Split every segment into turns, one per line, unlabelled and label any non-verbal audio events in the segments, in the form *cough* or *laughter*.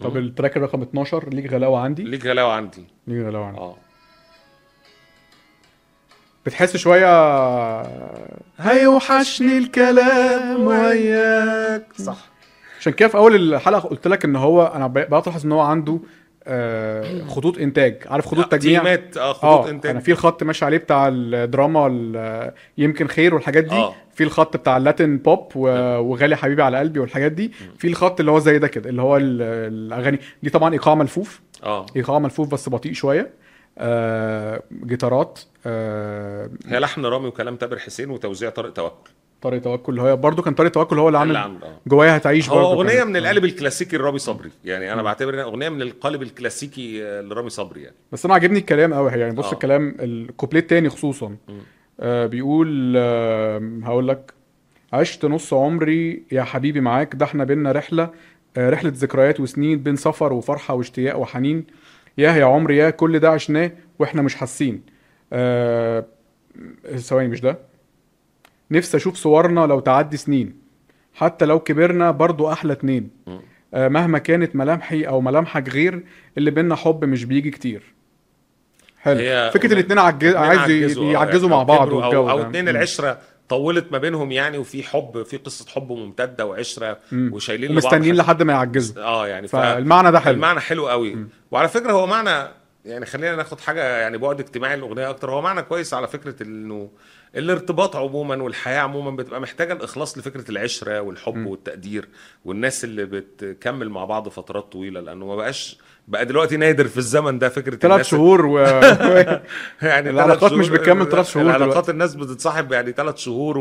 طب التراك رقم 12 ليك غلاوه عندي
ليك غلاوه عندي
ليك غلاوه عندي
اه
بتحس شويه هيوحشني الكلام وياك
صح
عشان كده في اول الحلقه قلت لك ان هو انا ب- بقيت الاحظ ان هو عنده
*clears throat*
آه، خطوط انتاج عارف خطوط تجميع
تيمات اه خطوط
اه
انتاج
انا في الخط ماشي عليه بتاع الدراما وال- يمكن خير والحاجات دي
آه.
في الخط بتاع اللاتين بوب و- وغالي حبيبي على قلبي والحاجات دي في الخط اللي هو زي ده كده اللي هو ال- الاغاني دي طبعا ايقاع ملفوف
اه
ايقاع آه، ملفوف بس بطيء شويه آه جيتارات آه
هي لحن رامي وكلام تامر حسين وتوزيع طارق توكل
طارق توكل هو برضه كان طارق توكل هو اللي
اللي
عامل
عامل اه
جوايا هتعيش برضه
هو اغنيه
كانت.
من القالب الكلاسيكي لرامي صبري يعني انا بعتبر انها اغنيه من القالب الكلاسيكي آه، لرامي صبري يعني
بس انا عاجبني الكلام قوي يعني بص
آه.
الكلام الكوبليه التاني خصوصا آه بيقول آه هقول لك عشت نص عمري يا حبيبي معاك ده احنا بينا رحله آه رحله ذكريات وسنين بين سفر وفرحه واشتياق وحنين ياه يا عمري ياه كل ده عشناه واحنا مش حاسين آه ثواني مش ده نفسي اشوف صورنا لو تعدي سنين حتى لو كبرنا برضو احلى اتنين
م.
آه مهما كانت ملامحي او ملامحك غير اللي بينا حب مش بيجي كتير حلو
هي
فكره الاتنين عج...
اتنين
عايز
عجزوا، آه،
يعجزوا
يعني
مع بعض
كبروا
والجو
او, أو
ده.
اتنين
مم.
العشره طولت ما بينهم يعني وفي حب في قصه حب ممتده وعشره
مم.
وشايلين لبعض
ومستنيين
حاجة.
لحد ما يعجزوا
اه يعني ف...
فالمعنى ده حلو
المعنى حلو قوي وعلى فكره هو معنى يعني خلينا ناخد حاجه يعني بعد اجتماعي الاغنيه اكتر هو معنى كويس على فكره انه الارتباط عموما والحياه عموما بتبقى محتاجه الاخلاص لفكره العشره والحب
مم.
والتقدير والناس اللي بتكمل مع بعض فترات طويله لانه ما بقاش بقى دلوقتي نادر في الزمن ده فكره
ثلاث
الناس
شهور و...
*laughs* يعني تلات
العلاقات مش
شهور-
بتكمل تلات شهور
العلاقات
دلوقتي.
الناس بتتصاحب يعني ثلاث شهور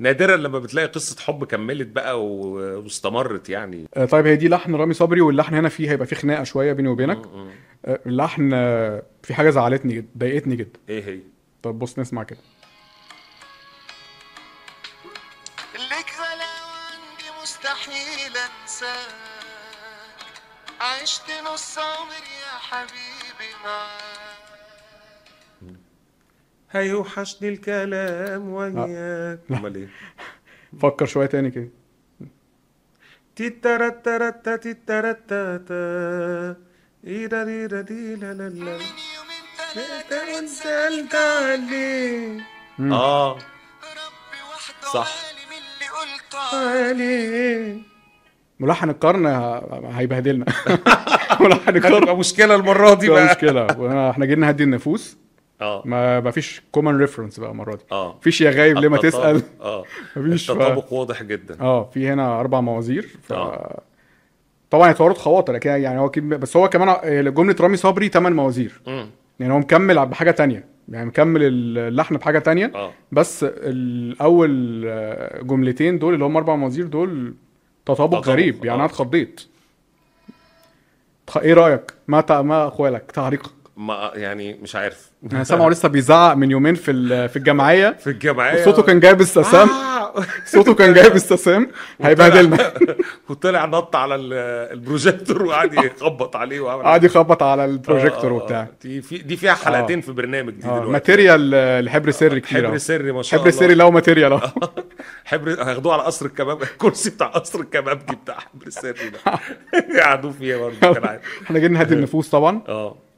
ونادرا لما بتلاقي قصه حب كملت بقى و- واستمرت يعني
آه، طيب هي دي لحن رامي صبري واللحن هنا فيه هيبقى فيه خناقه شويه بيني وبينك
م- م.
آه، اللحن آه، في حاجه زعلتني جدا ضايقتني جدا
ايه هي
طب بص نسمع كده
لك غلاوة عندي مستحيل انساك عشت نص عمري يا حبيبي معاك
هيوحشني الكلام وياك
آه.
امال ايه
فكر شويه تاني كده
تيتاراتاراتا تيتاراتاتا ايدا ديدا دي لا لا لا
من يومين
انت
تلاتة
وانسالت عليه
مم.
اه
ربي وحده
صح. آه.
عالم اللي قلته عنه.
عليه
ملحن القرن ه- هيبهدلنا *laughs* ملحن القرن
هتبقى مشكله المره *laughs* دي
دي
بقى
مشكله وأنا- احنا جينا نهدي النفوس
اه
ما ما فيش كومن ريفرنس بقى المره دي
اه
فيش يا غايب ليه ما
التطابق.
*laughs* تسال
اه
مفيش ف-
التطابق واضح جدا
اه في هنا اربع موازير ف...
آه.
طبعا يتوارد خواطر لكن يعني هو كم... بس هو كمان آه، جمله رامي صبري ثمان موازير
امم
يعني هو مكمل بحاجه تانية يعني مكمل اللحن بحاجه تانية
اه
بس الاول آه، جملتين دول اللي هم اربع موازير دول تطابق
تطابق،
غريب يعني
آه.
انا اتخضيت تخ- ايه رايك ما تع... ما اخوالك تعريقك
ما يعني مش عارف
انا سامعه لسه بيزعق من يومين في ال- في الجمعيه
في الجمعيه
صوته كان جايب استسام
أيوه. آه.
صوته كان
*laughs*
جايب استسام هيبهدلنا
وطلع نط على ال- البروجيكتور وقعد يخبط عليه وعمل
قعد يخبط على
آه،
البروجيكتور
آه، آه.
وبتاع
دي في دي فيها حلقتين في برنامج دي
اه
دلوقتي
ماتيريال آه، الحبر سري كتير
حبر
أهو.
سري ما شاء
حبر
الله
سري لو ماتيريال آه. اهو
*laughs* حبر هياخدوه على قصر الكباب الكرسي بتاع قصر *laughs* الكبابجي بتاع حبر سري ده قعدوا فيه برضه كان عادي آه.
احنا جايين نهدي النفوس طبعا
اه